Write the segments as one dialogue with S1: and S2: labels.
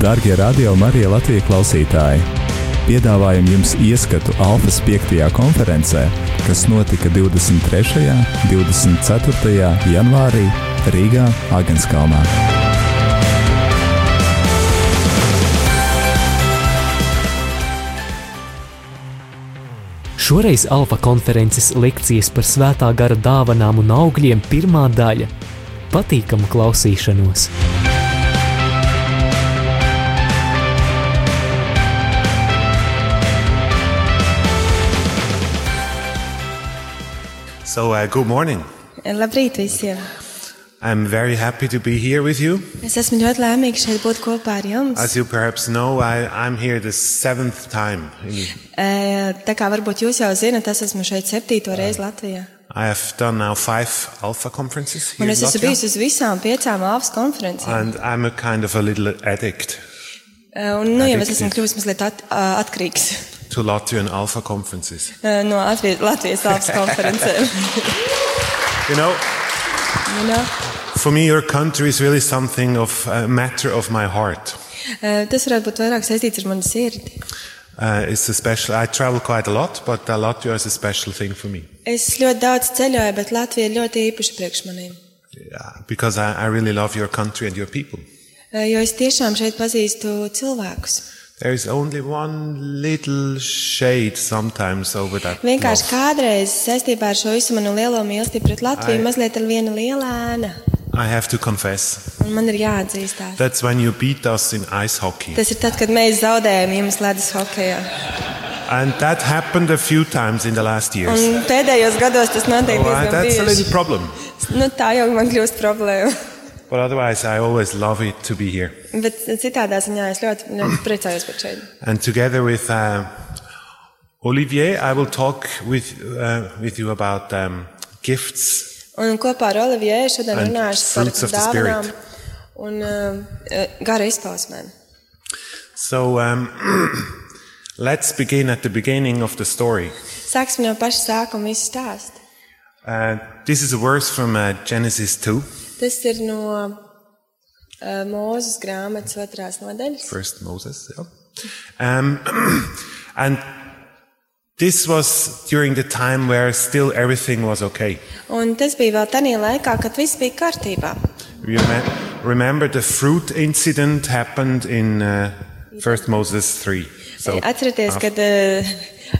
S1: Darbie radio Marija Latvijas klausītāji! Piedāvājam jums ieskatu Alfas 5. konferencē, kas notika 23. un 24. janvārī Rīgā, Agenskalnā.
S2: Šoreiz Alfa konferences lekcijas par svētā gara dāvanām un augļiem pirmā daļa - patīkamu klausīšanos.
S3: So, uh, good morning.
S4: Eh, Labrīt visiem!
S3: I'm very happy to be here with you.
S4: Es esmu ļoti laimīga šeit būt kopā ar jums.
S3: As you perhaps know, I, I'm here the seventh time. in-
S4: E, Tā kā varbūt jūs jau zinat, es esmu šeit septīto reizi Latvijā.
S3: I have done now five Alpha conferences here
S4: Un
S3: in
S4: es esmu
S3: Latvia,
S4: bijusi uz visām piecām AFS konferencēm.
S3: and I'm a kind of a little addict
S4: E, Un nu, jau es esmu
S3: Addictive.
S4: kļuvis mazliet at, a- atkarīgs
S3: to Latvian Alpha conferences.
S4: e, no Atvie- Latvijas AFS konferencēm.
S3: You know,
S4: You know?
S3: for me, your country is really something of a matter of my heart.
S4: E, Tas varētu būt vairāk saistīts ar manu sirdi.
S3: Uh, it's a special. I travel quite a lot, but uh, Latvia is a special thing for me
S4: Es ļoti daudz ceļoju, bet Latvija ir ļoti īpaša priekš maniem.
S3: yeah, because I, I really love your country and your people.
S4: E, Jo es tiešām šeit pazīstu cilvēkus.
S3: There is only one little shade sometimes over that.
S4: Vienkārši
S3: love.
S4: kādreiz saistībā ar šo visu manu lielo mīlestību pret Latviju
S3: Ai.
S4: mazliet ir viena liela ēna.
S3: I have to confess.
S4: Un man ir jāatzīstās.
S3: That's when you beat us in ice hockey.
S4: Tas ir tad, kad mēs zaudējam jums ledus hokeja.
S3: And that happened a few times in the last years.
S4: Un pēdējos gados tas notiek
S3: Oh, uh,
S4: diezgan
S3: that's a
S4: bieži.
S3: little problem.
S4: Nu, tā jau man kļūst problēma.
S3: But otherwise, I always love it to be here.
S4: Bet citādā ziņā es ļoti, ļoti priecājos par šeit.
S3: And together with uh, Olivier, I will talk with, uh, with you about um, gifts.
S4: Un kopā ar Olivieru šodien
S3: And
S4: runāšu par
S3: fruits of the
S4: dāvanām
S3: spirit.
S4: un uh, gara izpausmēm.
S3: So um, let's begin at the beginning of the story.
S4: Sāksim no paša sākuma visu stāstu.
S3: Uh, this is a verse from uh, Genesis 2.
S4: Tas ir no uh, Mūzes grāmatas otrās nodaļas.
S3: First Moses, yeah. Um, and this was during the time where still everything was okay.
S4: Un tas bija vēl tādā laikā, kad viss bija kārtībā.
S3: Reme- Remember the fruit incident happened in uh, First Moses 3. So
S4: Atcerieties,
S3: af-
S4: kad eh,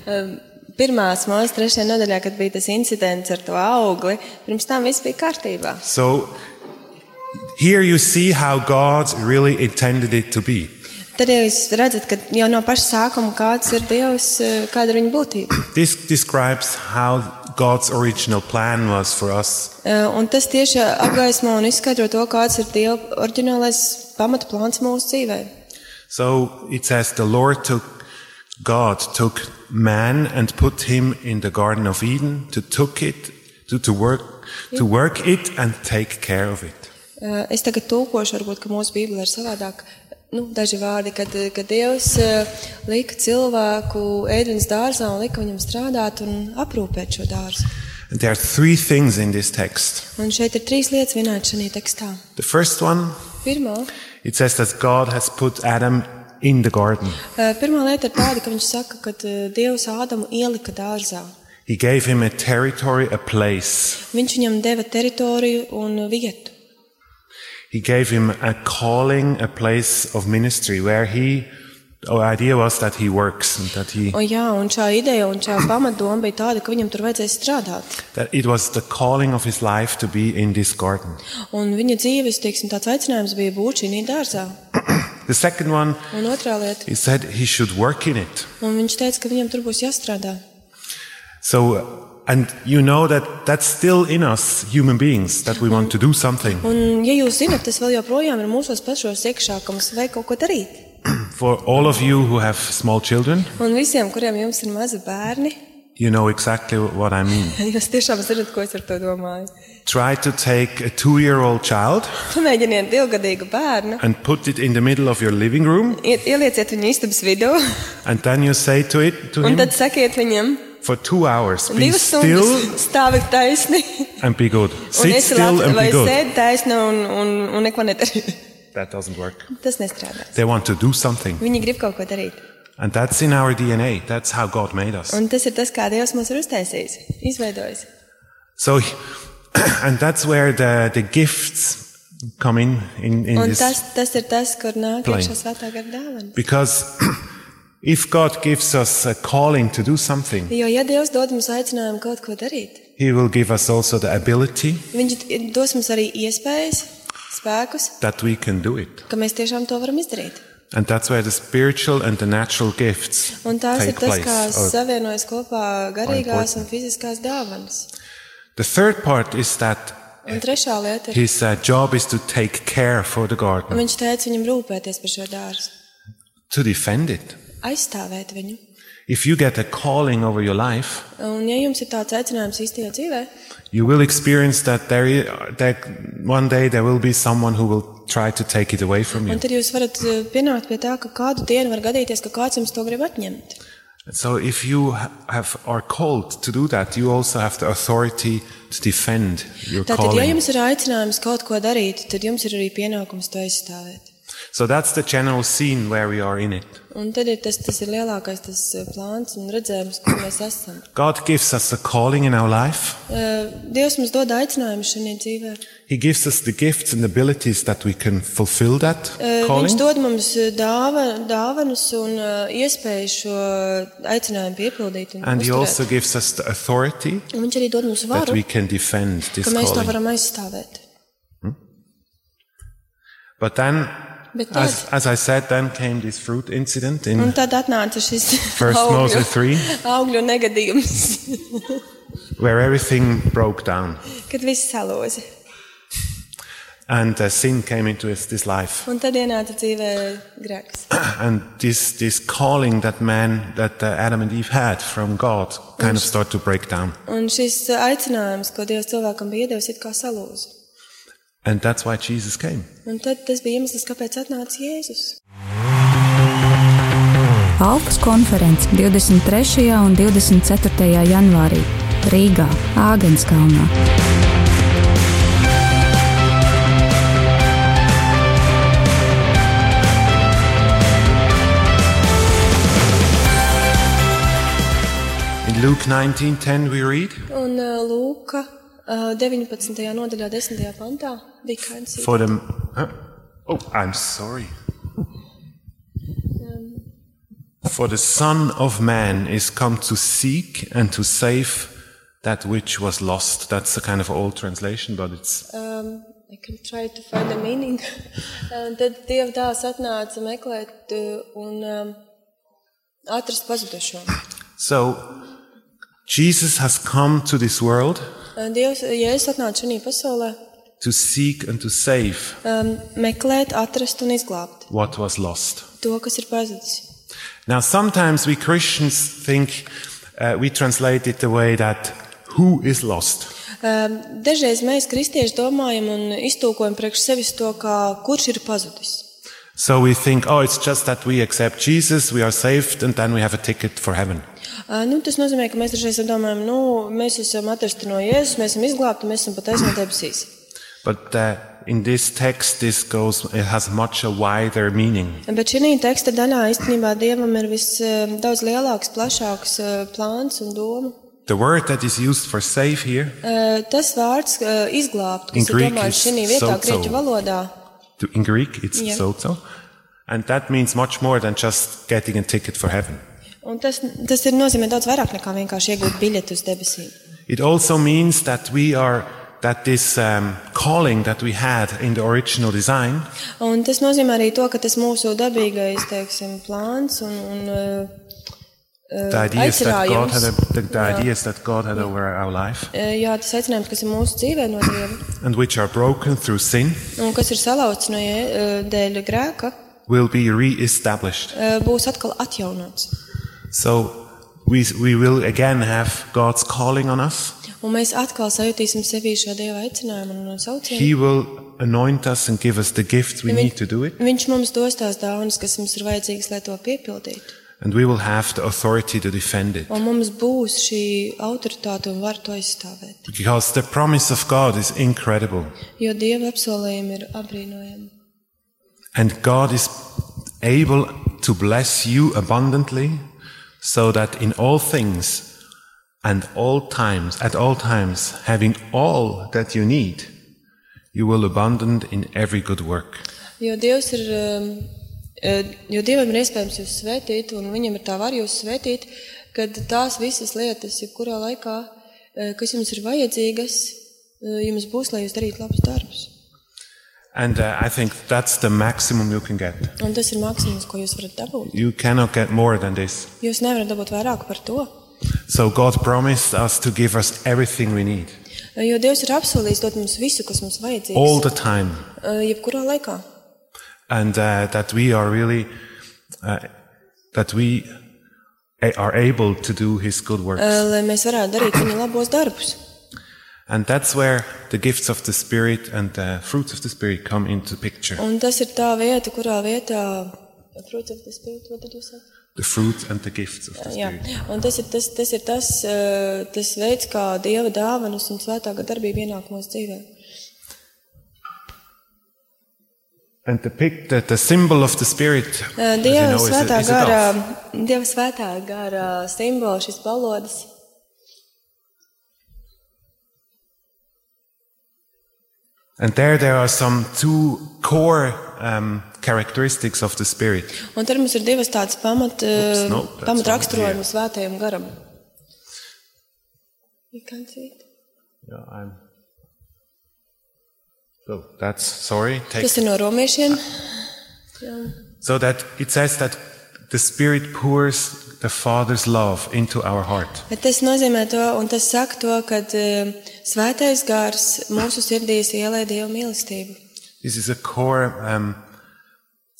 S4: eh, pirmās mūža trešajā nodaļā, kad bija tas incidents ar to augli, pirms tam viss bija kārtībā.
S3: so here you see how God really intended it to be.
S4: Tad jau jūs redzat, ka jau no paša sākuma kāds ir Dievs, eh, kāda ir viņa būtība.
S3: This describes how God's original plan was for us.
S4: Eh, Un tas tieši apgaismo un izskaidro to, kāds ir Dieva oriģinālais pamatplāns mūsu dzīvē.
S3: So it says the Lord took God took man and put him in the Garden of Eden to took it to, to work to work it and take care of it.
S4: Eh, Es tagad tūkošu, varbūt, ka mūsu Bībelē ir savādāk. Nu, daži vārdi, kad, kad Dievs eh, lika cilvēku ēdienas dārzā un lika viņam strādāt un aprūpēt šo dārzu.
S3: And there are three things in this text.
S4: Un šeit ir trīs lietas vienādas šajā tekstā.
S3: The first one
S4: Pirmā,
S3: It says that God has put Adam in the garden.
S4: eh, pirmā lieta ir tāda, ka viņš saka, ka eh, Dievs Ādamu ielika dārzā.
S3: He gave him a territory, a place.
S4: Viņš viņam deva teritoriju un vietu.
S3: He gave him a calling, a place of ministry where he, our idea was that he works and that he,
S4: O, jā, un šā ideja un šā pamatdoma bija tāda, ka viņam tur vajadzēja strādāt.
S3: that it was the calling of his life to be in this garden.
S4: Un viņa dzīves, teiksim, tāds aicinājums bija būt šī dārzā.
S3: The second one,
S4: Un otrā lieta.
S3: he said he should work in it.
S4: Un viņš teica, ka viņam tur būs jāstrādā.
S3: So, and you know that that's still in us, human beings, that we want to do something.
S4: Un, ja jūs zinat, tas vēl joprojām ir mūsu pašos iekšā, ka mums vajag kaut ko darīt.
S3: For all of you who have small children,
S4: Un visiem, kuriem jums ir mazi bērni,
S3: you know exactly what I mean.
S4: jūs tiešām zinat, ko es ar to domāju.
S3: Try to take a two year old child
S4: Pamēģiniet divgadīgu bērnu,
S3: and put it in the middle of your living room,
S4: iet- ielieciet viņu istabas vidū
S3: and then you say to it to
S4: un
S3: him
S4: tad sakiet viņam,
S3: for two hours, be
S4: divas
S3: still
S4: stundas stāvēt taisni.
S3: and be good.
S4: Un
S3: Sit
S4: es
S3: still and
S4: vai
S3: be good.
S4: sēdi taisni un, un, un neko nedarīju.
S3: That doesn't work.
S4: Tas nestrādās.
S3: They want to do something.
S4: Viņi grib kaut ko darīt.
S3: And that's in our DNA. That's how God made us.
S4: Un tas ir tas, kā Dievs mūs ir uztaisījis, izveidojis.
S3: So, and that's where the, the gifts come in, in, in
S4: Un
S3: this.
S4: tas, tas ir tas, kur nāk
S3: Plain.
S4: iekšā svētā gara dāvana.
S3: Because if God gives us a calling to do something,
S4: Jo, ja Dievs dod mums aicinājumu kaut ko darīt,
S3: He will give us also the ability
S4: Viņš t- dos mums arī iespējas, spēkus,
S3: that we can do it.
S4: ka mēs tiešām to varam izdarīt.
S3: And that's where the spiritual and the natural gifts
S4: Un tās
S3: take
S4: ir tas, kā
S3: place. or-
S4: savienojas kopā garīgās
S3: important.
S4: un fiziskās dāvanas.
S3: The third part is that
S4: Un trešā lieta ir,
S3: his uh, job is to take care for the garden,
S4: viņš teica viņam rūpēties par šo dārzu,
S3: to defend it.
S4: aizstāvēt viņu.
S3: If you get a calling over your life,
S4: Un, ja jums ir tāds aicinājums īstajā dzīvē,
S3: you will experience that there i- that one day there will be someone who will try to take it away from you.
S4: un tad jūs varat eh, pienākt pie tā, ka kādu dienu var gadīties, ka kāds jums to grib atņemt.
S3: So if you ha- have are called to do that, you also have the authority to defend your
S4: Tātad, ja
S3: calling.
S4: jums ir aicinājums kaut ko darīt, tad jums ir arī pienākums to aizstāvēt.
S3: So that's the general scene where we are in it.
S4: Un tad ir tas, tas ir lielākais tas eh, plāns un redzējums, kur mēs esam.
S3: God gives us a calling in our life.
S4: Eh, Dievs mums dod aicinājumu šajā dzīvē.
S3: He gives us the gifts and abilities that we can fulfill that
S4: Eh, Viņš
S3: calling.
S4: dod mums eh, dāva, dāvanas un eh, iespēju šo aicinājumu piepildīt. Un
S3: And he also
S4: uzturēt.
S3: gives us the authority
S4: Un viņš arī dod mums
S3: that
S4: varu,
S3: we can defend this
S4: ka mēs to
S3: calling.
S4: varam aizstāvēt.
S3: But then,
S4: Bet tad,
S3: as, as I said, then came this fruit incident
S4: un
S3: in
S4: tad atnāca šis
S3: First
S4: augļu,
S3: Moses 3,
S4: augļu negadījums,
S3: where everything broke down
S4: kad viss salozi.
S3: and uh, sin came into his, this life.
S4: Un tad ienāca dzīvē grēks.
S3: and this this calling that man that uh, Adam and Eve had from God kind of start to break down,
S4: Un šis aicinājums, ko Dievs cilvēkam bija iedevis, ir kā salūza.
S3: and that's why Jesus came.
S4: Un tad tas bija iemesls, kāpēc atnāca Jēzus.
S5: Alpas konference 23. un 24. janvārī Rīgā, Āgenskalnā.
S3: In Luke 19:10 we read,
S4: Un ā, Lūka ā, 19. nodaļā, 10. pantā bija kāds.
S3: "For them, huh? oh, I'm sorry. For the Son of Man is come to seek and to save that which was lost." That's a kind of old translation, but it's
S4: Um, I can try to find a meaning. Un tad Dieva dēls atnāca meklēt ā, un um, atrast pazudušo.
S3: so. Jesus has come to this world
S4: Ā, Dievs, Jēzus atnāca šajā pasaulē
S3: to seek and to save
S4: um, meklēt, atrast un izglābt
S3: what was lost.
S4: to, kas ir pazudis.
S3: Now, sometimes we Christians think uh, we translate it the way that who is lost?
S4: Um, Dažreiz mēs, kristieši, domājam un iztūkojam priekš sevis to, kā, kurš ir pazudis.
S3: So we think, oh, it's just that we accept Jesus, we are saved, and then we have a ticket for heaven.
S4: Uh, Nu, tas nozīmē, ka mēs dažreiz domājam, nu, mēs esam atrasti no Jēzus, mēs esam izglābti, mēs esam pataisni debesīs.
S3: But uh, in this text, this goes, it has much a wider meaning.
S4: Bet šī teksta daļā īstenībā Dievam ir vis um, daudz lielāks, plašāks uh, plāns un doma.
S3: The word that is used for save here,
S4: Uh, Tas vārds uh, izglābt,
S3: In
S4: kas ir
S3: Greek
S4: domāts
S3: is
S4: šī vietā,
S3: sozo.
S4: grieķu valodā,
S3: to- in Greek, it's
S4: Yeah.
S3: soto. And that means much more than just getting a ticket for heaven.
S4: un tas, tas ir nozīmē daudz vairāk nekā vienkārši iegūt biļeti uz debesīm.
S3: It also means that we are, that this um, calling that we had in the original design
S4: Un tas nozīmē arī to, ka tas mūsu dabīgais teiksim, plāns un, un uh,
S3: the ideas that God had,
S4: aicinājums,
S3: the, the ideas that God had over our life,
S4: uh, jā, tas aicinājums, kas ir mūsu dzīvē no Dieva
S3: and which are broken through sin,
S4: un kas ir salauzts no Jē- uh, dēļ grēka,
S3: will be re-established.
S4: uh, būs atkal atjaunots.
S3: So we we will again have God's calling on us.
S4: Un mēs atkal sajutīsim sevi šo Dieva aicinājumu un saucienu.
S3: He will anoint us and give us the gifts we
S4: Ja viņ-
S3: need to do it,
S4: Viņš mums dos tās dāvanas, kas mums ir vajadzīgas, lai to piepildītu.
S3: and we will have the authority to defend it.
S4: Un mums būs šī autoritāte un var to aizstāvēt.
S3: Because the promise of God is incredible.
S4: Jo Dieva apsolījumi ir apbrīnojami.
S3: And God is able to bless you abundantly so that in all things and all times, at all times, having all that you need, you will abundant in every good work.
S4: Jo Dievs ir, um, eh, jo Dievam ir iespējams jūs svētīt, un Viņam ir tā var jūs svētīt, kad tās visas lietas, jebkurā laikā, eh, kas jums ir vajadzīgas, eh, jums būs, lai jūs darītu labus darbus.
S3: And uh, I think that's the maximum you can get.
S4: Un tas ir maksimums, ko jūs varat dabūt.
S3: You cannot get more than this.
S4: Jūs nevarat dabūt vairāk par to,
S3: So God promised us to give us everything we need
S4: eh, jo Dievs ir apsolījis dot mums visu, kas mums vajadzīgs,
S3: all the time.
S4: eh, jebkurā laikā.
S3: and uh, that we are really uh, that we a- are able to do his good works
S4: eh, Lai mēs varētu darīt viņa labos darbus.
S3: and that's where the gifts of the spirit and the fruits of the spirit come into picture
S4: Un tas ir tā vieta, kurā vietā. Fruits of the Spirit, what did you say?
S3: the fruits and the gifts of the
S4: Jā,
S3: spirit
S4: un tas ir tas, tas, ir tas, eh, tas veids, kā dieva dāvanas un svētā gara darbība ienāk mūsu dzīvē.
S3: and the, pic- the, the symbol of the spirit
S4: Eh,
S3: as you
S4: Dieva
S3: know, is a-
S4: svētā
S3: is a
S4: gara,
S3: dove.
S4: dieva svētā gara simbols, šis balodis.
S3: and there there are some two core um, characteristics of the spirit
S4: Un tad mums ir divas tādas pamat, eh,
S3: Ups, no, that's
S4: pamat
S3: wrong.
S4: raksturojuma svētajam garam. You can't see it.
S3: yeah, I'm... so that's sorry take
S4: Tas ir no romiešiem. Jā.
S3: So that it says that the Spirit pours the Father's love into our heart.
S4: Bet tas nozīmē to, un tas saka to, ka eh, svētais gars mūsu sirdīs ielē dievu mīlestību.
S3: This is a core, um,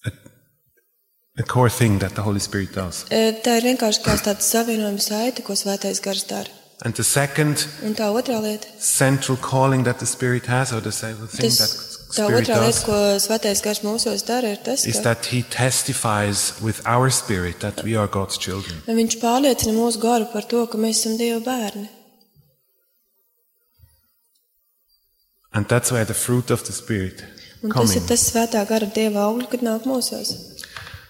S3: a, a core thing that the Holy Spirit does.
S4: E, Tā ir vienkārši kā tāda savienojuma saite, ko svētais gars dara.
S3: And the second
S4: Un tā otrā lieta,
S3: central calling that the Spirit has, or the second thing
S4: tas,
S3: that
S4: tā
S3: Spirit
S4: otrā lieta,
S3: does,
S4: ko svētais gars mūsos dara, ir tas,
S3: is
S4: ka
S3: that He testifies with our spirit that we are God's children.
S4: viņš pārliecina mūsu garu par to, ka mēs esam Dieva bērni.
S3: And that's where the fruit of the Spirit
S4: Un tas
S3: comes
S4: ir
S3: in.
S4: tas svētā gara Dieva augļi, kad nāk mūsos.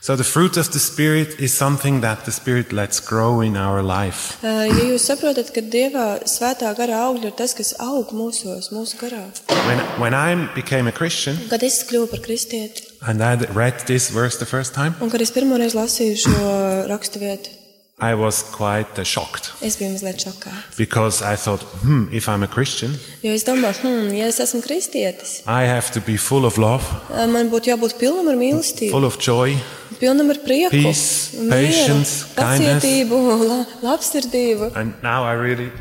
S3: So the fruit of the Spirit is something that the Spirit lets grow in our life.
S4: E, Ja jūs saprotat, ka Dieva svētā gara augļi ir tas, kas aug mūsos, mūsu garā.
S3: When, when I became a Christian,
S4: Kad es kļuvu par kristieti,
S3: And I read this verse the first time.
S4: un kad es pirmoreiz lasīju šo rakstu vietu,
S3: I was quite uh, shocked
S4: es biju mazliet šokā.
S3: because I thought, hmm, if I'm a Christian,
S4: Jo es domāju, hmm, ja es esmu kristietis,
S3: I have to be full of love,
S4: e, man būtu jābūt pilnam ar mīlestību.
S3: full of joy,
S4: Pilnam ar prieku,
S3: Peace,
S4: mieru,
S3: patience, kindness.
S4: pacietību, la, labsirdību.
S3: and now I really.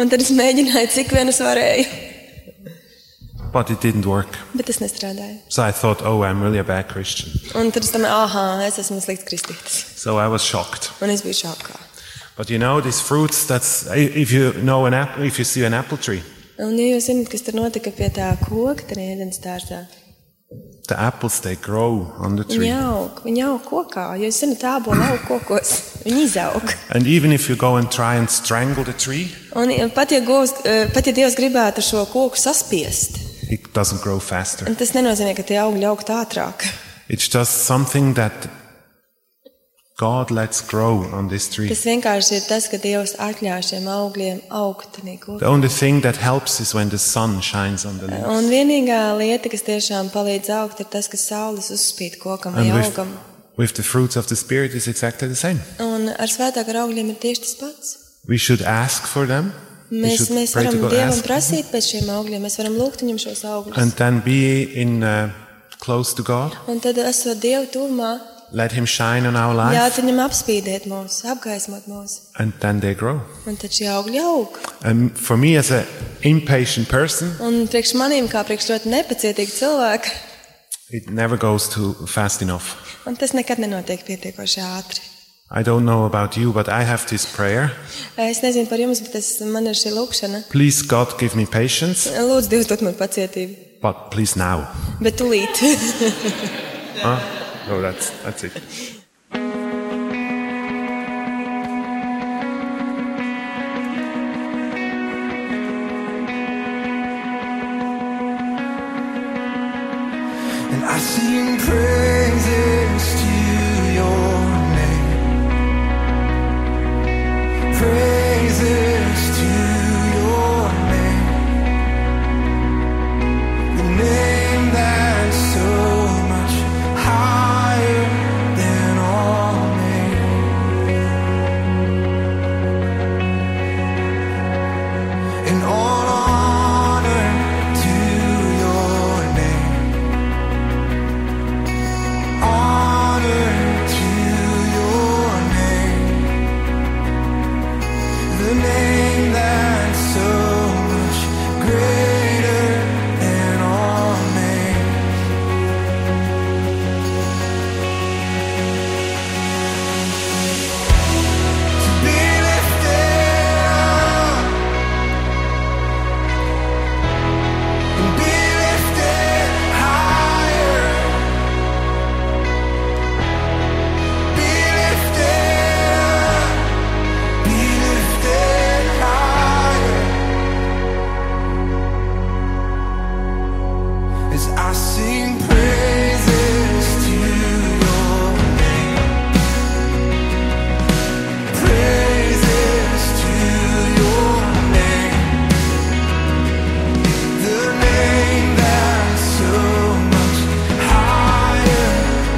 S4: Un tad es mēģināju, cik vien es varēju,
S3: But it didn't work.
S4: bet tas nestrādāja.
S3: So I thought, oh, I'm really a bad Christian.
S4: Un tad es domāju, ah, es esmu slikts kristietis.
S3: So I was shocked.
S4: Un es biju šokā.
S3: But you know, these fruits. That's i- if you know an apple, if you see an apple tree,
S4: Un, ja jūs zināt, kas tur notika pie tā koka, tad ēdienas dārzā.
S3: the apples they grow on the
S4: Viņi
S3: tree.
S4: aug, viņi aug kokā. Jo Jūs zināt, tā būna aug kokos. Viņi izaug.
S3: And even if you go and try and strangle the tree,
S4: Un ja, pat ja, govs, eh, pat ja Dievs gribētu šo koku saspiest,
S3: it doesn't grow faster.
S4: tas nenozīmē, ka tie augļi aug ātrāk.
S3: It's just something that God lets grow on this tree.
S4: Tas vienkārši ir tas, ka Dievs atļāva šiem augļiem augt. tenī
S3: The
S4: kokā.
S3: only thing that helps is when the sun shines
S4: Uh,
S3: on the leaves.
S4: Un vienīgā lieta, kas tiešām palīdz augt, ir tas, ka saules uzspīd kokam vai
S3: And with,
S4: augam.
S3: with the fruits of the Spirit is exactly the same.
S4: Un ar svētākiem augļiem ir tieši tas pats.
S3: We should ask for them. We
S4: Mēs,
S3: should
S4: mēs
S3: pray to
S4: varam
S3: God,
S4: Dievam
S3: ask.
S4: prasīt pēc šiem augļiem, mēs varam lūgt viņam šos
S3: And
S4: augļus.
S3: then be in uh, close to God.
S4: Un tad, esot Dieva tuvumā,
S3: Let Him shine on our life.
S4: ļaut viņam apspīdēt mūs, apgaismot mūs.
S3: And then they grow.
S4: Un tad šie augļi aug.
S3: And for me, as an impatient person,
S4: Un priekš manīm, kā priekš ļoti nepacietīga cilvēka,
S3: it never goes too fast enough.
S4: un tas nekad nenotiek pietiekoši ātri.
S3: I don't know about you, but I have this prayer.
S4: Es nezinu par jums, bet tas man ir šī lūkšana.
S3: Please, God, give me patience.
S4: Lūdzu, Dievs, dod man pacietību,
S3: But please now.
S4: bet tūlīt.
S3: Huh? No, Oh, that's that's it.
S6: and I sing praises to your name. Praises to your name. The name that's so much higher than all names. and all honor to your name. Honor to your name, the name that's so much greater than all names. To be lifted up. And be lifted higher. Be lifted, be lifted higher. As I sing praises to your name, praises to your name. The name that's so much higher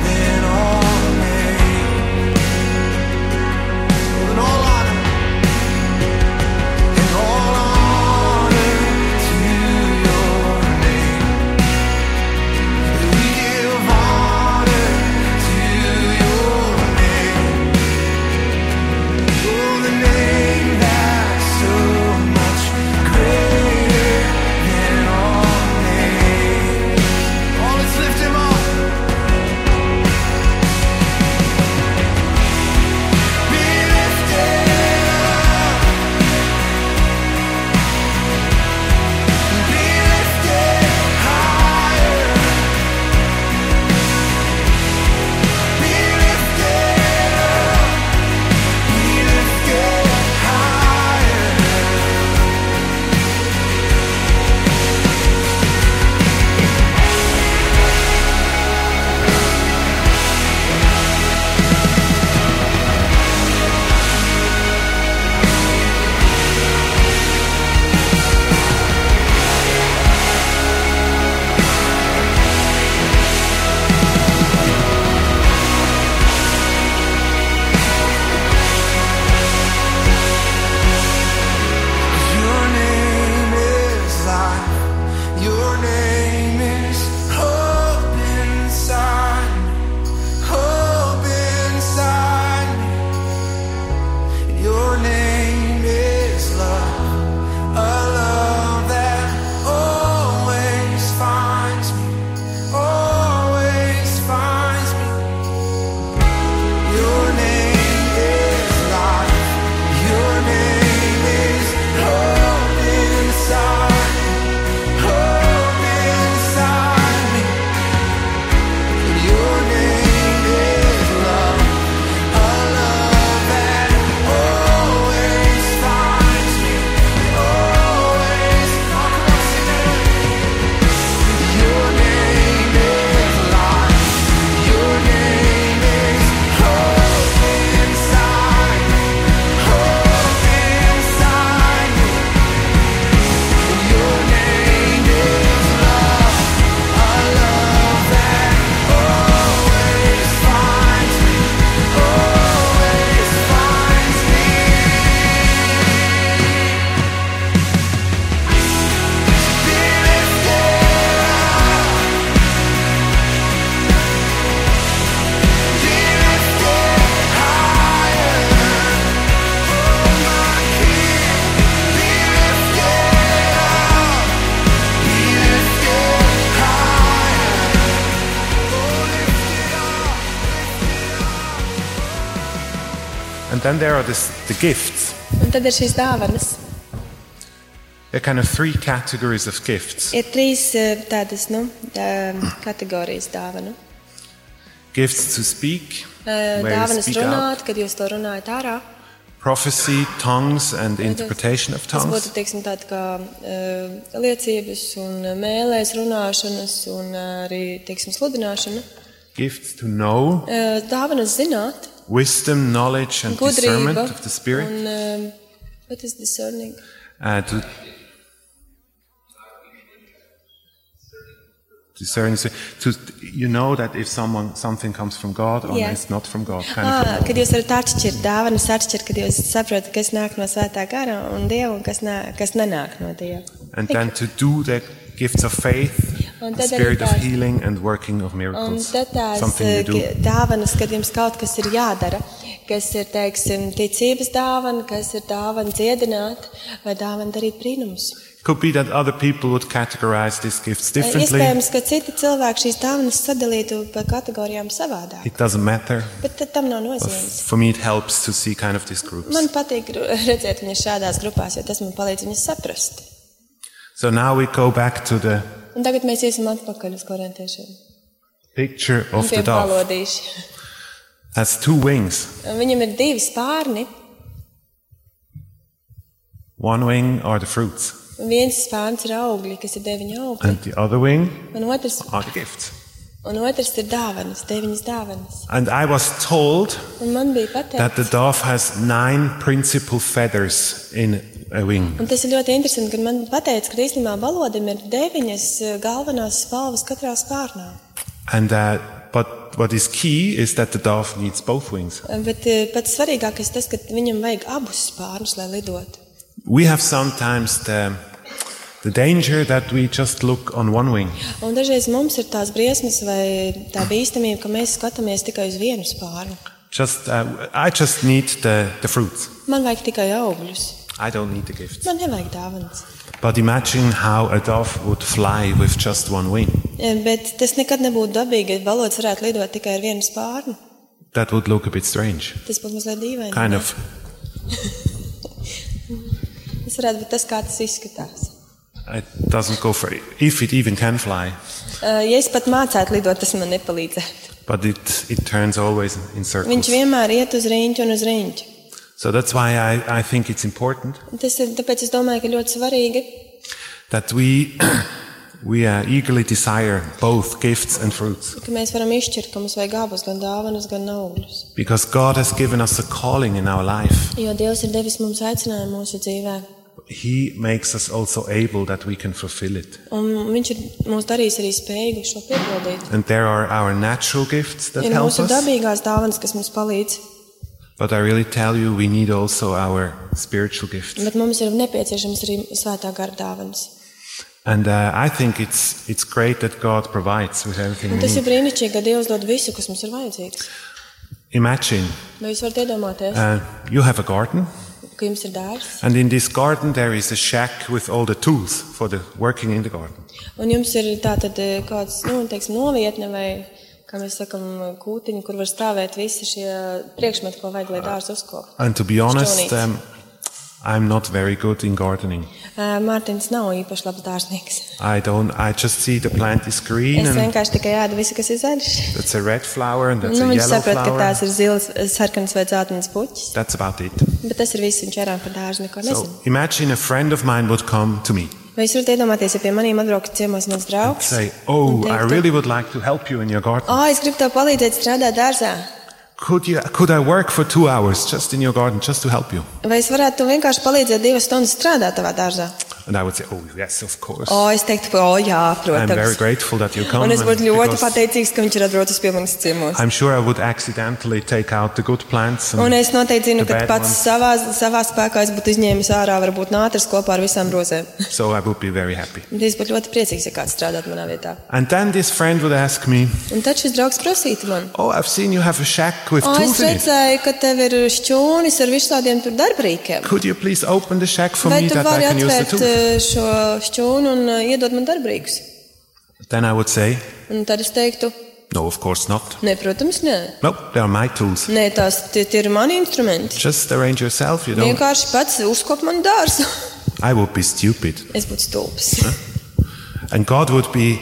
S6: than all names, and all honor, and all honor to your name. We give honor to your name, oh, the name that's so much greater than all names. Oh, let's lift him up. Be lifted up. Be lifted higher. Be lifted up. Be lifted higher. Your name is life. Your name is hope inside me. Hope inside me. Your name is love. A love that always finds me. Always finds me. Your name is life. Your name is hope inside. Hope inside me. Your name is love. A love that always finds me. Always. Your name is life. Your name is hope inside me. Hope inside me. Your name is love, a love that always finds me, always finds me. Be lifted higher.
S3: And then there are this, the gifts.
S4: Un tad ir šīs dāvanas.
S3: There are kind of three categories of gifts.
S4: Ir trīs eh, tādas nu, dā- kategorijas dāvanu.
S3: Gifts to speak,
S4: Eh,
S3: where you
S4: Dāvanas
S3: speak out.
S4: runāt, kad jūs to runājat ārā.
S3: prophecy, tongues, and interpretation of
S4: Tas
S3: tongues.
S4: būtu teiksim, tāda kā uh, liecības, un eh, mēlēs, runāšanas un eh, arī teiksim, sludināšana.
S3: Gifts to know,
S4: Eh, Dāvanas zināt,
S3: wisdom, knowledge, and discernment
S4: gudrība
S3: of the Spirit.
S4: un eh, what is discerning?
S3: Uh, to discerning, so to you know that if someone something comes from God or
S4: Yeah.
S3: it's not from God, kind of
S4: Ah, kad jūs varat atšķirt dāvanas, atšķirt, kad jūs saprotat, kas nāk no svētā gara un dieva, un kas, nā, kas nenāk no dieva.
S3: and then to do the gifts of faith,
S4: Und
S3: the
S4: dann
S3: spirit of
S4: dann-
S3: healing, and working of
S4: Un
S3: miracles.
S4: tad tās
S3: Something you
S4: eh,
S3: do.
S4: dāvanas, kad jums kaut kas ir jādara, kas ir, teiksim, ticības dāvana, kas ir dāvana dziedināt vai dāvana darīt brīnumus.
S3: Could be that other people would categorize these gifts
S4: Eh,
S3: differently.
S4: Iespējams, ka citi cilvēki šīs dāvanas sadalītu pa kategorijām savādāk,
S3: It doesn't matter.
S4: bet tad tam nav
S3: But
S4: nozīmes.
S3: for me, it helps to see kind of these groups.
S4: Man patīk gru- redzēt viņas šādās grupās, jo tas man palīdz viņas saprast.
S3: So now we go back to the
S4: Un tagad mēs iesim atpakaļ uz korintiešiem.
S3: picture of the
S4: Pie
S3: dove.
S4: balodīša.
S3: Has two wings.
S4: Viņam ir divi spārni.
S3: One wing are the fruits,
S4: un Viens spārns ir augļi, kas ir deviņi augļi,
S3: and the other wing
S4: un otrs,
S3: are the gifts.
S4: un otrs ir dāvanas, deviņas dāvanas.
S3: And I was told
S4: Un man bija
S3: that the
S4: pateikts,
S3: dove has nine principal feathers in a wing.
S4: un tas ir ļoti interesanti, kad man pateica, ka īstenībā balodim ir deviņas eh, galvenās spalvas katrā spārnā.
S3: And uh, but what is key is that the dove needs both wings.
S4: Bet eh, pats svarīgākais tas, ka viņam vajag abus spārnus, lai lidotu.
S3: We have sometimes the the danger that we just look on one wing.
S4: Un dažreiz mums ir tās briesmas vai tā bīstamība, ka mēs skatāmies tikai uz vienu spārnu.
S3: Just uh, I just need the the fruits.
S4: Man vajag tikai augļus,
S3: I don't need the gifts.
S4: man nevajag dāvanas.
S3: But imagine how a dove would fly with just one wing.
S4: Eh, Bet tas nekad nebūtu dabīgi, ja balots varētu lidot tikai ar vienu spārnu.
S3: That would look a bit strange.
S4: Tas būtu mazliet dīvaini.
S3: Kind of.
S4: Tas varētu būt tas, kā tas izskatās.
S3: It doesn't go for if it even can fly.
S4: Eh, Ja es pat mācētu lidot, tas man nepalīdzētu.
S3: But it it turns always in
S4: Viņš
S3: circles.
S4: vienmēr iet uz rīņķi un uz rīņķi.
S3: So that's why I, I think it's important
S4: Tas ir tāpēc, es domāju, ka ļoti svarīgi,
S3: that we we uh, eagerly desire both gifts and fruits
S4: ka mēs varam izšķirt, ka mums vajag abus, gan dāvanas, gan augļus.
S3: because God has given us a calling in our life.
S4: Jo Dievs ir devis mums aicinājumu mūsu dzīvē,
S3: He makes us also able that we can fulfill it.
S4: un Viņš ir mūs darījis arī spējīgu šo piepildīt.
S3: And there are our natural gifts that
S4: Ir
S3: help
S4: mūsu
S3: us,
S4: dabīgās dāvanas, kas mums palīdz,
S3: but I really tell you we need also our spiritual gifts.
S4: bet mums ir nepieciešams arī svētā gara dāvanas.
S3: And uh, I think it's it's great that God provides with everything we
S4: Un Nu, tas ir
S3: need.
S4: brīnišķīgi, ka Dievs dod visu, kas mums ir vajadzīgs.
S3: Imagine
S4: Nu, jūs varat iedomāties,
S3: uh, you have a garden,
S4: ka jums ir dārsts,
S3: and in this garden there is a shack with all the tools for the working in the garden.
S4: un jums ir tātad eh, kāds, nu, teiksim, novietne vai, kā mēs sakam, kūtiņa, kur var stāvēt visi šie priekšmeti, ko vajag, lai dārsts uzkoptu.
S3: And to be honest,
S4: Stoney.
S3: um, I'm not very good in gardening.
S4: Eh, Mārtiņš nav īpaši labs dārznieks.
S3: I don't. I just see the plant is green,
S4: Es
S3: and
S4: vienkārši tikai ēdu visu, kas ir zaļš.
S3: that's a red flower, and that's
S4: Nu,
S3: a
S4: viņš
S3: yellow
S4: saprot, ka
S3: flower.
S4: tās ir zilas, sarkanas vai dzeltenas puķis,
S3: That's about it.
S4: bet tas ir viss, viņš ērā par dārzu neko
S3: So
S4: nezina.
S3: imagine a friend of mine would come to me
S4: Vai jūs varat iedomāties, ja pie maniem atbrauks ciemos mans
S3: and
S4: draugs?
S3: say, "Oh,
S4: Un
S3: I
S4: teiktu,
S3: really would like to help you in your garden.
S4: "Ā, es gribu tev palīdzēt strādāt dārzā.
S3: Could you? Could I work for two hours just in your garden, just to help you?"
S4: Vai es varētu tev vienkārši palīdzēt divas stundas strādāt tavā dārzā?
S3: And I would say, "Oh, yes, of course.
S4: O, es teiktu, o, jā,
S3: I'm very
S4: protams.
S3: grateful that you come."
S4: Un es
S3: and
S4: būtu ļoti
S3: because
S4: pateicīgs, ka viņš ir atbraucis pie manis ciemos.
S3: I'm sure I would accidentally take out the good plants.
S4: Un
S3: And
S4: es noteikti zinu,
S3: the
S4: ka
S3: bad
S4: pats
S3: ones.
S4: savā, savā spēkā es būtu izņēmis ārā varbūt nātris kopā ar visām rozēm.
S3: So I would be very happy.
S4: Un Es būtu ļoti priecīgs, ja kāds strādātu manā vietā.
S3: And then this friend would ask me,
S4: Un tad šis draugs prasītu man.
S3: Oh, I've seen you have a shack with
S4: O, es
S3: tools in it.
S4: redzēju, ka tev ir šķūnis ar visādiem tur darbrīkiem.
S3: Could you please open the shack for
S4: Vai
S3: me
S4: tu
S3: that I
S4: vari
S3: can use the
S4: atvērt
S3: tools?
S4: eh, šo šķūnu un eh, iedot man darbrīkus?
S3: Then I would say,
S4: Un tad es teiktu,
S3: No, of course not.
S4: nē, protams, nē.
S3: Nope, they are my tools.
S4: Nē, tās tie, tie ir mani instrumenti.
S3: Just arrange yourself, you know.
S4: Vienkārši pats uzkop man dārzu.
S3: I would be stupid.
S4: Es būtu stulbs.
S3: And God would be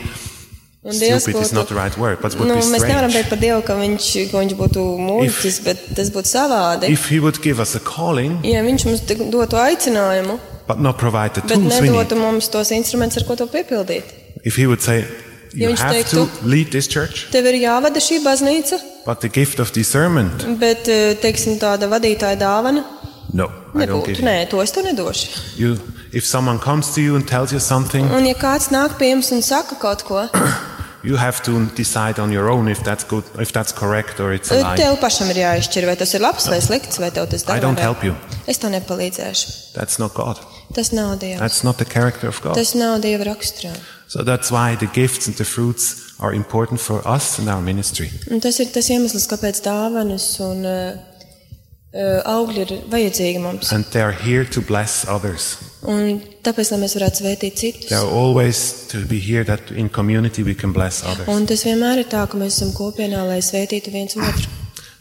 S4: Un Dievs
S3: Stupid is
S4: būtu-
S3: not the right word, but would
S4: Nu,
S3: be
S4: mēs nevaram teikt
S3: strange.
S4: par Dievu, ka viņš, ka viņš būtu mūķis,
S3: If-
S4: bet tas būtu savādi.
S3: If He would give us a calling,
S4: Ja viņš mums te- dotu aicinājumu,
S3: but not provide the
S4: bet
S3: tools we
S4: nedotu
S3: need,
S4: mums tos instrumentus, ar ko to piepildīt,
S3: if He would say, you
S4: viņš
S3: have to
S4: teiktu-
S3: lead this church,
S4: tev ir jāvada šī baznīca,
S3: but the gift of discernment,
S4: bet eh, teiksim, tāda vadītāja dāvana
S3: no, I don't give
S4: nebūtu.
S3: it.
S4: Nē, to es tev nedošu.
S3: You, if someone comes to you and tells you something,
S4: Un, ja kāds nāk pie jums un saka kaut ko,
S3: you have to decide on your own if that's good, if that's correct or it's a
S4: eh,
S3: lie.
S4: tev pašam ir jāizšķir, vai tas ir labs vai slikts, vai tev tas
S3: I
S4: dara.
S3: don't
S4: vai nē.
S3: help you.
S4: Es tev nepalīdzēšu.
S3: That's not God.
S4: Tas nav Dievs.
S3: That's not the character of God.
S4: Tas nav Dieva raksturā.
S3: So that's why the gifts and the fruits are important for us and our ministry.
S4: Un tas ir tas iemesls, kāpēc dāvanas un eh, eh, augļi ir vajadzīgi mums.
S3: And they are here to bless others.
S4: Un tāpēc, lai mēs varētu svētīt citus.
S3: They are always to be here that in community we can bless
S4: Un
S3: others.
S4: tas vienmēr ir tā, ka mēs esam kopienā, lai svētītu viens otru.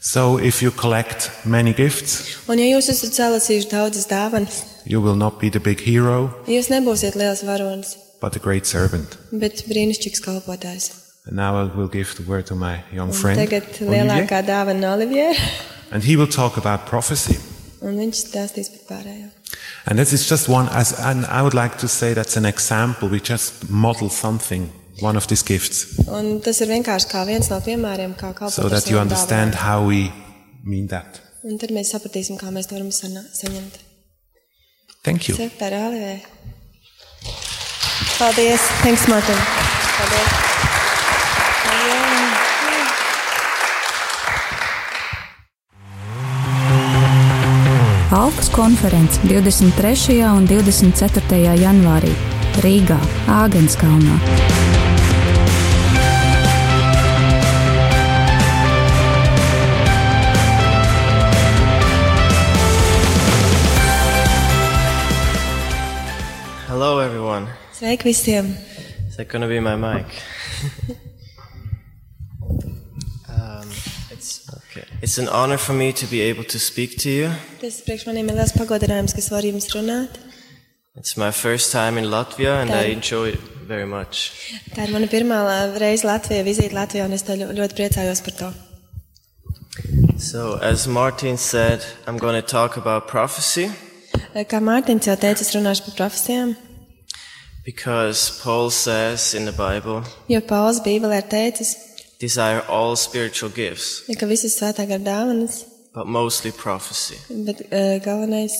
S3: So if you collect many gifts,
S4: Un ja jūs esat salasījuši daudzas dāvanas,
S3: you will not be the big hero,
S4: jūs nebūsiet liels varonis,
S3: but a great servant.
S4: bet brīnišķīgs kalpotājs.
S3: And now I will give the word to my young
S4: Un
S3: friend,
S4: Tagad
S3: Olivier,
S4: lielākā dāvana no Oliviera,
S3: and he will talk about prophecy.
S4: un viņš stāstīs par pārējo.
S3: And this is just one, as, and I would like to say that's an example. We just model something, one of these gifts,
S4: Un tas ir vienkārši kā viens no piemēriem, kā kalpot.
S3: so
S4: ar
S3: that you
S4: savām
S3: understand
S4: dāvanām.
S3: how we mean that.
S4: Un tad mēs sapratīsim, kā mēs to varam sanā- saņemt.
S3: Thank you.
S4: Super, Olivier. Paldies! Thanks, Martin! Paldies! Paldies.
S5: Alpas konference 23. un 24. janvārī Rīgā, Āgenskalnā.
S7: Hello, everyone.
S4: Sveiki visiem!
S7: Is that going to be my mic? um, it's okay. It's an honor for me to be able to speak to you.
S4: Tas priekš maniem ir liels pagodinājums, kas var jums runāt.
S7: It's my first time in Latvia, and I
S4: Thank-
S7: enjoy it very much.
S4: Tā ir mana pirmā la- reize Latvijā, vizīte Latvijā, un es tā ļo- ļoti priecājos par to.
S7: So, as Martin said, I'm going to talk about prophecy
S4: Kā Mārtiņš jau teica, es runāšu par profesijām,
S7: because Paul says in the Bible,
S4: jo Pauls Bībelē ir teicis,
S7: "Desire all spiritual gifts,
S4: ka visas svētā gara dāvanas,
S7: but mostly prophecy."
S4: bet uh, galvenais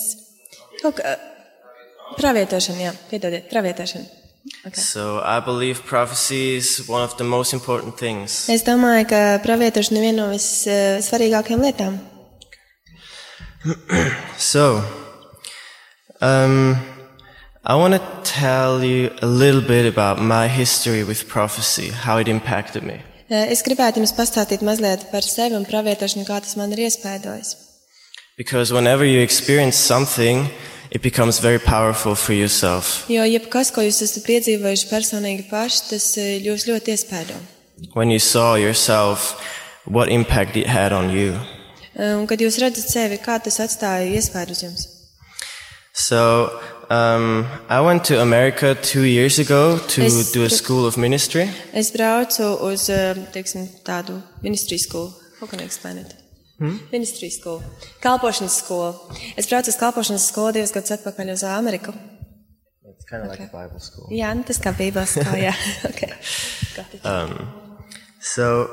S4: kaut kā pravietošana, jā, piedodiet, pravietošana. Okay.
S7: So, I believe prophecy is one of the most important things.
S4: Es domāju, ka pravietošana ir viena no vissvarīgākajām lietām.
S7: So, um, I want to tell you a little bit about my history with prophecy, how it impacted me.
S4: Eh, Es gribētu jums pastāstīt mazliet par sevi un pravietošanu, kā tas man ir iespējojis.
S7: Because whenever you experience something, it becomes very powerful for yourself.
S4: Jo jebkas, ko jūs esat piedzīvojuši personīgi paši, tas eh, jūs ļoti iespējo.
S7: When you saw yourself, what impact it had on you.
S4: Eh, Un kad jūs redzat sevi, kā tas atstāja iespēju uz jums.
S7: So, um, I went to America two years ago to
S4: Is-
S7: do a school of ministry.
S4: Es braucu uz eh, teiksim, tādu ministrijas skolu. How can I explain it? Hmm? Ministrijas skolu. Kalpošanas skolu. Es braucu uz kalpošanas skolu divus gadus atpakaļ uz Ameriku.
S7: It's kind of like a Bible school.
S4: Jā, nu tas kā bībās, kā jā. okay. Got it.
S7: So,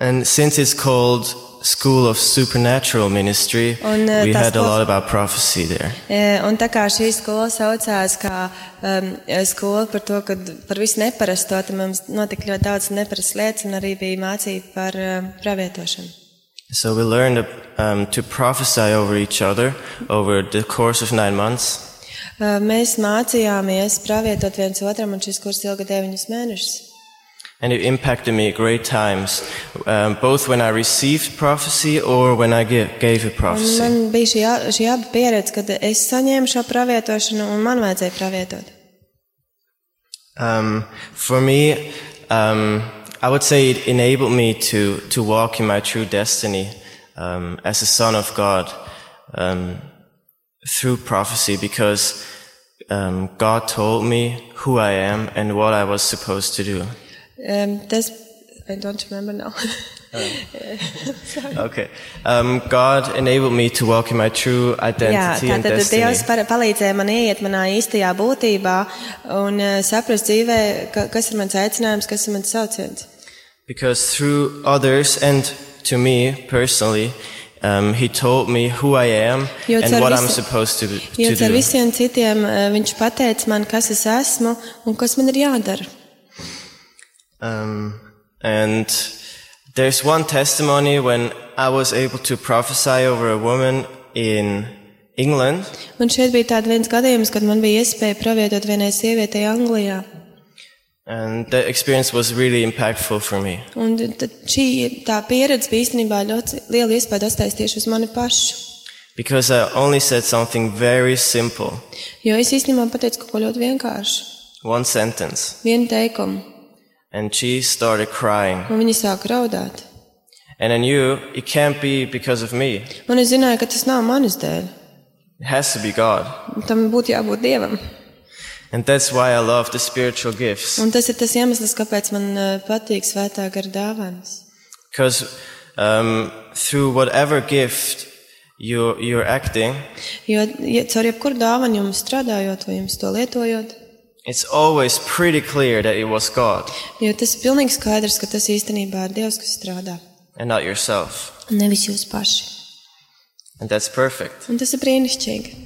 S7: and since it's called School of Supernatural Ministry,
S4: On, uh,
S7: we
S4: that's
S7: had a
S4: what-
S7: lot about prophecy there.
S4: Eh, Un tā kā šī skola saucās kā um, skola par to, ka par visu neparasto, tad mums notika ļoti daudz neparastas lietas, un arī bija mācība par um, pravietošanu.
S7: So we learned um, to prophesy over each other over the course of nine months.
S4: Eh, Mēs mācījāmies pravietot viens otram, un šis kurs ilga deviņus mēnešus.
S7: And it impacted me at great times, um, both when I received prophecy or when I give, gave a
S4: Un
S7: prophecy.
S4: man bija šī, a- šī abi pieredze, kad es saņēmu šo pravietošanu, un man vajadzēja pravietot.
S7: Um, for me, um, I would say it enabled me to, to walk in my true destiny um, as a son of God um, through prophecy because um, God told me who I am and what I was supposed to do.
S4: Um, that's I don't remember now.
S7: Okay. Um, God enabled me to walk in my true
S4: Jā,
S7: identity and
S4: tātad Dievs
S7: destiny.
S4: par, palīdzēja man ieiet manā īstajā būtībā un uh, saprast dzīvē, ka, kas ir mans aicinājums, kas ir mans sauciens.
S7: Because through others and to me personally, um, He told me who I am
S4: Jo
S7: and
S4: caur
S7: what
S4: visu-
S7: I'm supposed to,
S4: Jo
S7: to
S4: ar
S7: do.
S4: visiem citiem eh, viņš pateica man, kas es esmu un kas man ir jādara.
S7: Um, and there's one testimony when I was able to prophesy over a woman in England.
S4: Un šeit bija tāds viens gadījums, kad man bija iespēja pravietot vienai sievietei Anglijā.
S7: And that experience was really impactful for me.
S4: Un tad šī tā pieredze bija īstenībā ļoti liela iespēja atstājas tieši uz mani pašu.
S7: Because I only said something very simple,
S4: Jo es īstenībā pateicu kaut ko ļoti vienkāršu.
S7: one sentence,
S4: Vienu teikumu,
S7: and she started crying.
S4: un viņi sāka raudāt.
S7: And I knew it can't be because of me.
S4: Un es zināju, ka tas nav manis dēļ.
S7: It has to be God.
S4: Tam būtu jābūt dievam.
S7: And that's why I love the spiritual gifts.
S4: Un tas ir tas iemesls, kāpēc man eh, patīk svētā gara dāvāns.
S7: Because um, through whatever gift you're, you're acting,
S4: Jo ja, caur jebkuru dāvanu jums strādājot vai jums to lietojot,
S7: it's always pretty clear that it was God
S4: jo tas ir pilnīgi skaidrs, ka tas īstenībā ir Dievs, kas strādā,
S7: and not yourself.
S4: un nevis jūs paši.
S7: And that's perfect.
S4: Un tas ir brīnišķīgi.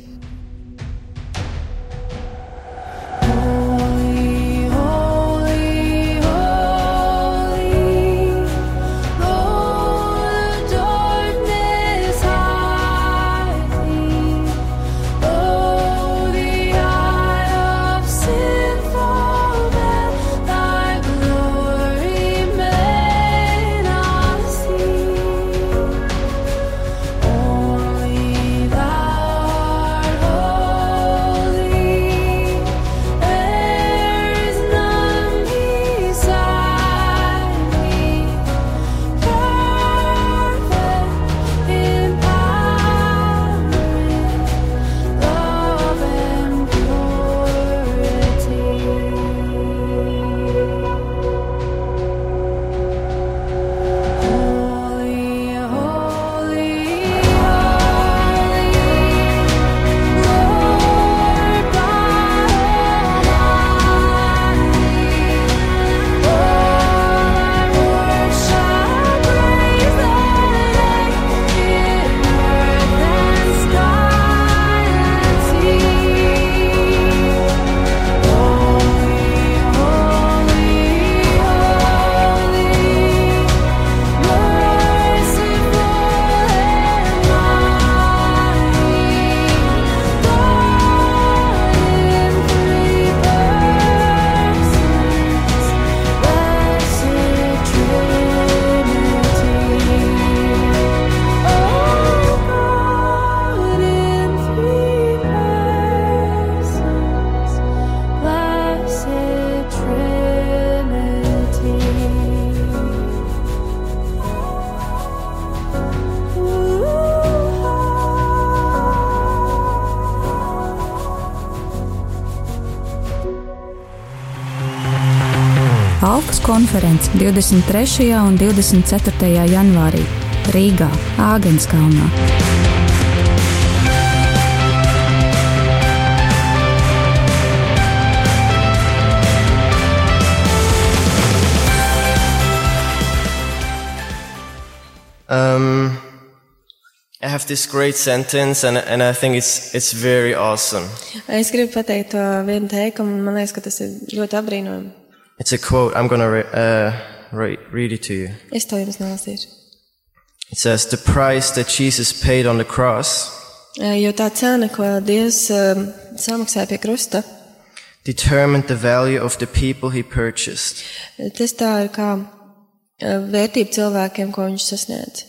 S5: Alpas konference 23. un 24. janvārī Rīgā, Āgenskalnā.
S7: Um, I have this great sentence, and, and I think it's, it's very awesome.
S4: Es gribu pateikt to vienu teikumu, un man liekas, ka tas ir ļoti apbrīnojami.
S7: It's a quote. I'm going to re- uh, re- read it to you.
S4: Es to jums nolasīšu.
S7: It says, The price that Jesus paid on the cross
S4: Eh, Jo tā cena, ko Dievs eh, samaksāja pie krusta,
S7: determined the value of the people he purchased.
S4: eh, tas tā ir kā eh, vērtība cilvēkiem, ko viņš sasniedz.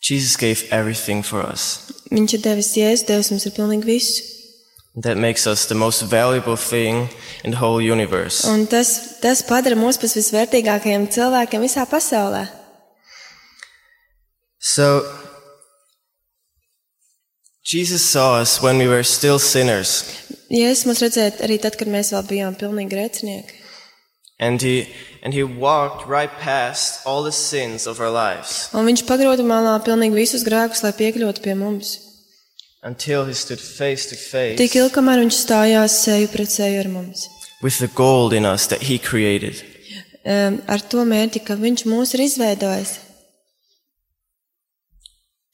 S7: Jesus gave everything for us.
S4: Viņš ir devis jēzu, Dievs mums ir pilnīgi visu.
S7: That makes us the most valuable thing in the whole universe.
S4: Un tas, tas padara mūs par visvērtīgākajiem cilvēkiem visā pasaulē.
S7: So, Jesus saw us when we were still sinners,
S4: Jēzus mums redzēja arī tad, kad mēs vēl bijām pilnīgi grēcinieki.
S7: And he, and he walked right past all the sins of our lives
S4: Un viņš pagroda malā pilnīgi visus grēkus, lai piekļūtu pie mums.
S7: until he stood face to
S4: Tik
S7: face
S4: ilgi, kamēr viņš stājās seju pret seju ar mums.
S7: with the gold in us that he created.
S4: Em, Eh, Ar to mērķi, ka viņš mūs ir izveidojis.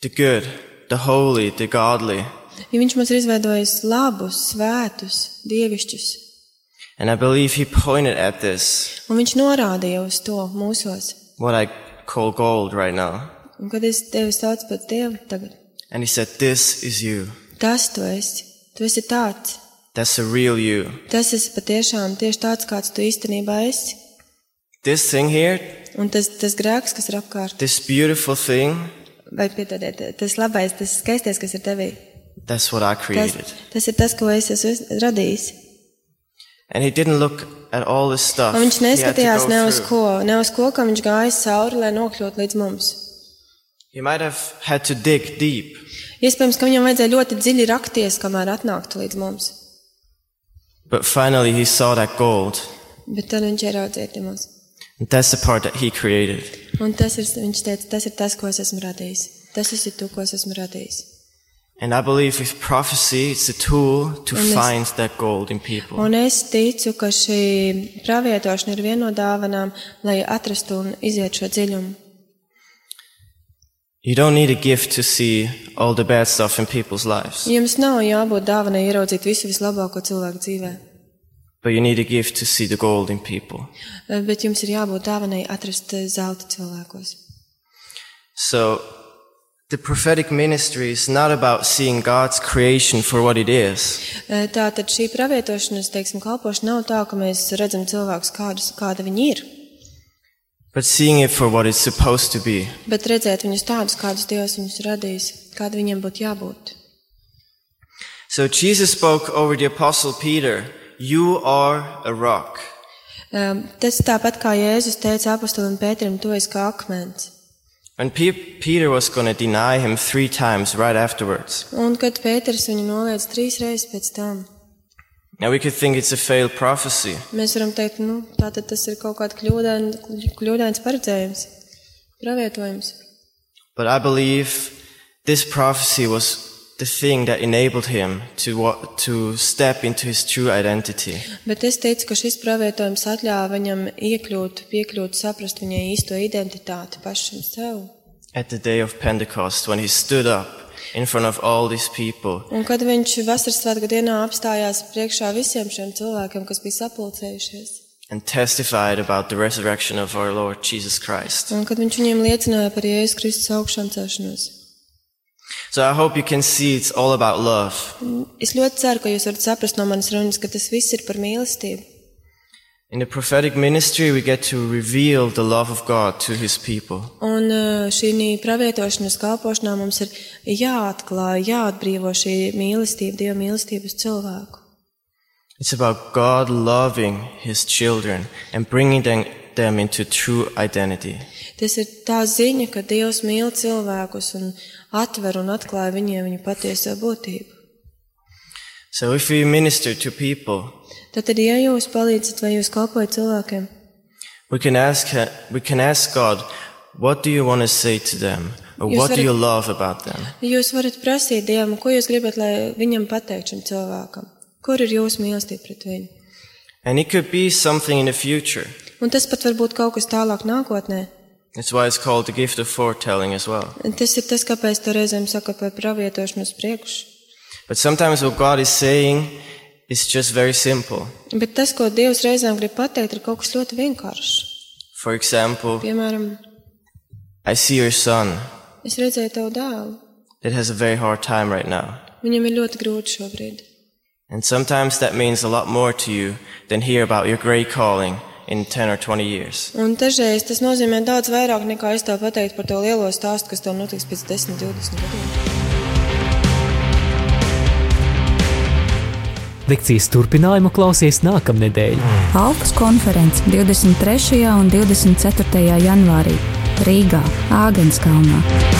S7: The good, the holy, the godly.
S4: Ja viņš mums ir izveidojis labus, svētus, dievišķus.
S7: And I believe he pointed at this,
S4: Un viņš norādīja uz to mūsos.
S7: what I call gold right now.
S4: Un kad es tevi saucu par Dievu tagad,
S7: And he said, This is you.
S4: tas tu esi. Tu esi tāds.
S7: That's the real you.
S4: Tas esi patiešām tieši tāds, kāds tu īstenībā esi.
S7: This thing here,
S4: Un tas, tas grēks, kas ir apkārt,
S7: this beautiful thing,
S4: vai piedodiet, tas labais, tas skaistais, kas ir tevī,
S7: that's what I
S4: tas,
S7: created.
S4: tas ir tas, ko es esmu uz- radījis.
S7: And he didn't look at all this stuff.
S4: Un viņš
S7: he had to
S4: neskatījās
S7: go
S4: ne uz
S7: through.
S4: ko, ne uz ko, kam viņš gāja cauri, lai nokļūtu līdz mums.
S7: He might have had to dig deep,
S4: Iespējams, ka viņam vajadzēja ļoti dziļi rakties, kamēr atnāktu līdz mums.
S7: but finally he saw that gold.
S4: Bet tad viņš ieraudzīja te mūs.
S7: And that's the part that he created.
S4: Un tas ir, viņš teica, tas ir tas, ko es esmu radījis. Tas esi tu, ko es esmu radījis.
S7: And I believe with prophecy, it's a tool to
S4: And this-
S7: find that gold in people.
S4: Un es ticu, ka šī pravietošana ir viena no dāvanām, lai atrastu un izietu šo dziļumu.
S7: You don't need a gift to see all the bad stuff in people's lives,
S4: Jums nav jābūt dāvanai ieraudzīt visu vislabāko cilvēku dzīvē,
S7: but you need a gift to see the gold in people.
S4: bet jums ir jābūt dāvanai atrast eh, zelta cilvēkos.
S7: So, the prophetic ministry is not about seeing God's creation for what it is,
S4: Eh, Tātad šī pravietošanas, teiksim, kalpošana nav tā, ka mēs redzam cilvēkus, kādus, kāda viņi ir,
S7: but seeing it for what it's supposed to be.
S4: bet redzēt viņus tādus, kādus Dievs viņus radīs, kāda viņiem būtu jābūt.
S7: So, Jesus spoke over the apostle Peter, You are a rock.
S4: Eh, Tas tāpat kā Jēzus teica apostolam Pēterim, to es kā akmens.
S7: And Pe- Peter was going to deny him three times right afterwards.
S4: Un kad Pēters viņu noliedz trīs reizes pēc tam,
S7: Now, we could think it's a failed prophecy,
S4: Mēs varam teikt, nu, tātad tas ir kaut kāds kļūdain, kļūdains paredzējums, pravietojums.
S7: but I believe this prophecy was the thing that enabled him to, wa- to step into his true identity.
S4: Bet es teicu, ka šis pravietojums atļāva viņam iekļūt, piekļūt, saprast viņa īsto identitāti pašam sev.
S7: At the day of Pentecost, when he stood up in front of all these people,
S4: Un kad viņš vasaras svētku dienā apstājās priekšā visiem šiem cilvēkiem, kas bija sapulcējušies,
S7: and testified about the resurrection of our Lord Jesus Christ.
S4: un kad viņš viņiem liecināja par Jēzus Kristus augšām celšanos.
S7: So I hope you can see it's all about love.
S4: Es ļoti ceru, ka jūs varat saprast no manas runas, ka tas viss ir par mīlestību.
S7: In the prophetic ministry, we get to reveal the love of God to his people.
S4: Un eh, šī pravietošanas kalpošanā mums ir jāatklāj, jāatbrīvo šī mīlestība, Dieva mīlestības cilvēku.
S7: It's about God loving his children and bringing them, them into true identity.
S4: Tas ir tā ziņa, ka Dievs mīl cilvēkus un atver un atklāj viņiem viņu patieso būtību.
S7: So if we minister to people,
S4: Tad, tad, ja jūs palīdzat vai jūs kalpojat cilvēkiem,
S7: we can ask, he- we can ask God, what do you want to say to them? Or
S4: Yes,
S7: what do
S4: very-
S7: you love about them?
S4: jūs varat prasīt Dievam, ko jūs gribat, lai viņam pateikt šim cilvēkam. Kur ir jūsu mīlestība pret viņu?
S7: And it could be something in the future.
S4: Un tas pat var būt kaut kas tālāk nākotnē.
S7: That's why it's called the gift of foretelling as well.
S4: Tas ir tas, kāpēc tur reizēm saka par pravietošanos priekšu.
S7: But sometimes what God is saying is just very simple.
S4: Bet tas, ko Dievs reizēm grib pateikt, ir kaut kas ļoti vienkāršs.
S7: For example,
S4: Piemēram,
S7: I see your son
S4: es redzēju tavu dēlu.
S7: that has a very hard time right now.
S4: Viņam ir ļoti grūti šobrīd.
S7: And sometimes that means a lot more to you than hear about your great calling in 10 or 20 years.
S4: Un dažreiz tas nozīmē daudz vairāk nekā es tev pateiktu par to lielo stāstu, kas tev notiks pēc 10, 20 gadiem.
S2: Lekcijas turpinājumu klausies nākamnedēļ.
S5: Alpas konference 23. un 24. janvārī Rīgā, Āgenskalnā.